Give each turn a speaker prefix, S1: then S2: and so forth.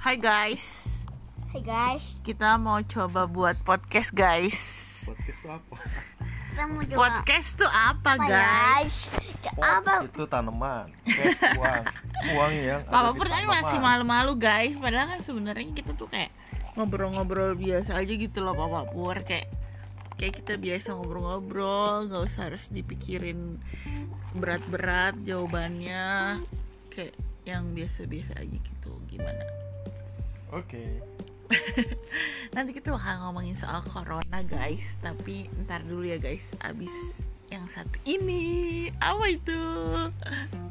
S1: Hai guys,
S2: Hai guys,
S1: kita mau coba buat podcast guys.
S3: podcast itu apa
S2: kita mau coba
S1: Podcast tuh apa
S2: apa
S1: guys?
S2: guys? Ke-
S3: Pot
S2: Apa?
S3: itu tanaman cash uang uang yang ada
S1: Papa
S3: di
S1: Pur kan
S3: tanaman.
S1: masih malu-malu guys, padahal kan sebenarnya kita tuh kayak ngobrol-ngobrol biasa aja gitu loh Papa Pur kayak kayak kita biasa ngobrol-ngobrol, nggak usah harus dipikirin berat-berat jawabannya, kayak yang biasa-biasa aja gitu gimana?
S3: oke
S1: Nanti kita bakal ngomongin soal corona guys Tapi ntar dulu ya guys Abis yang satu ini Apa itu?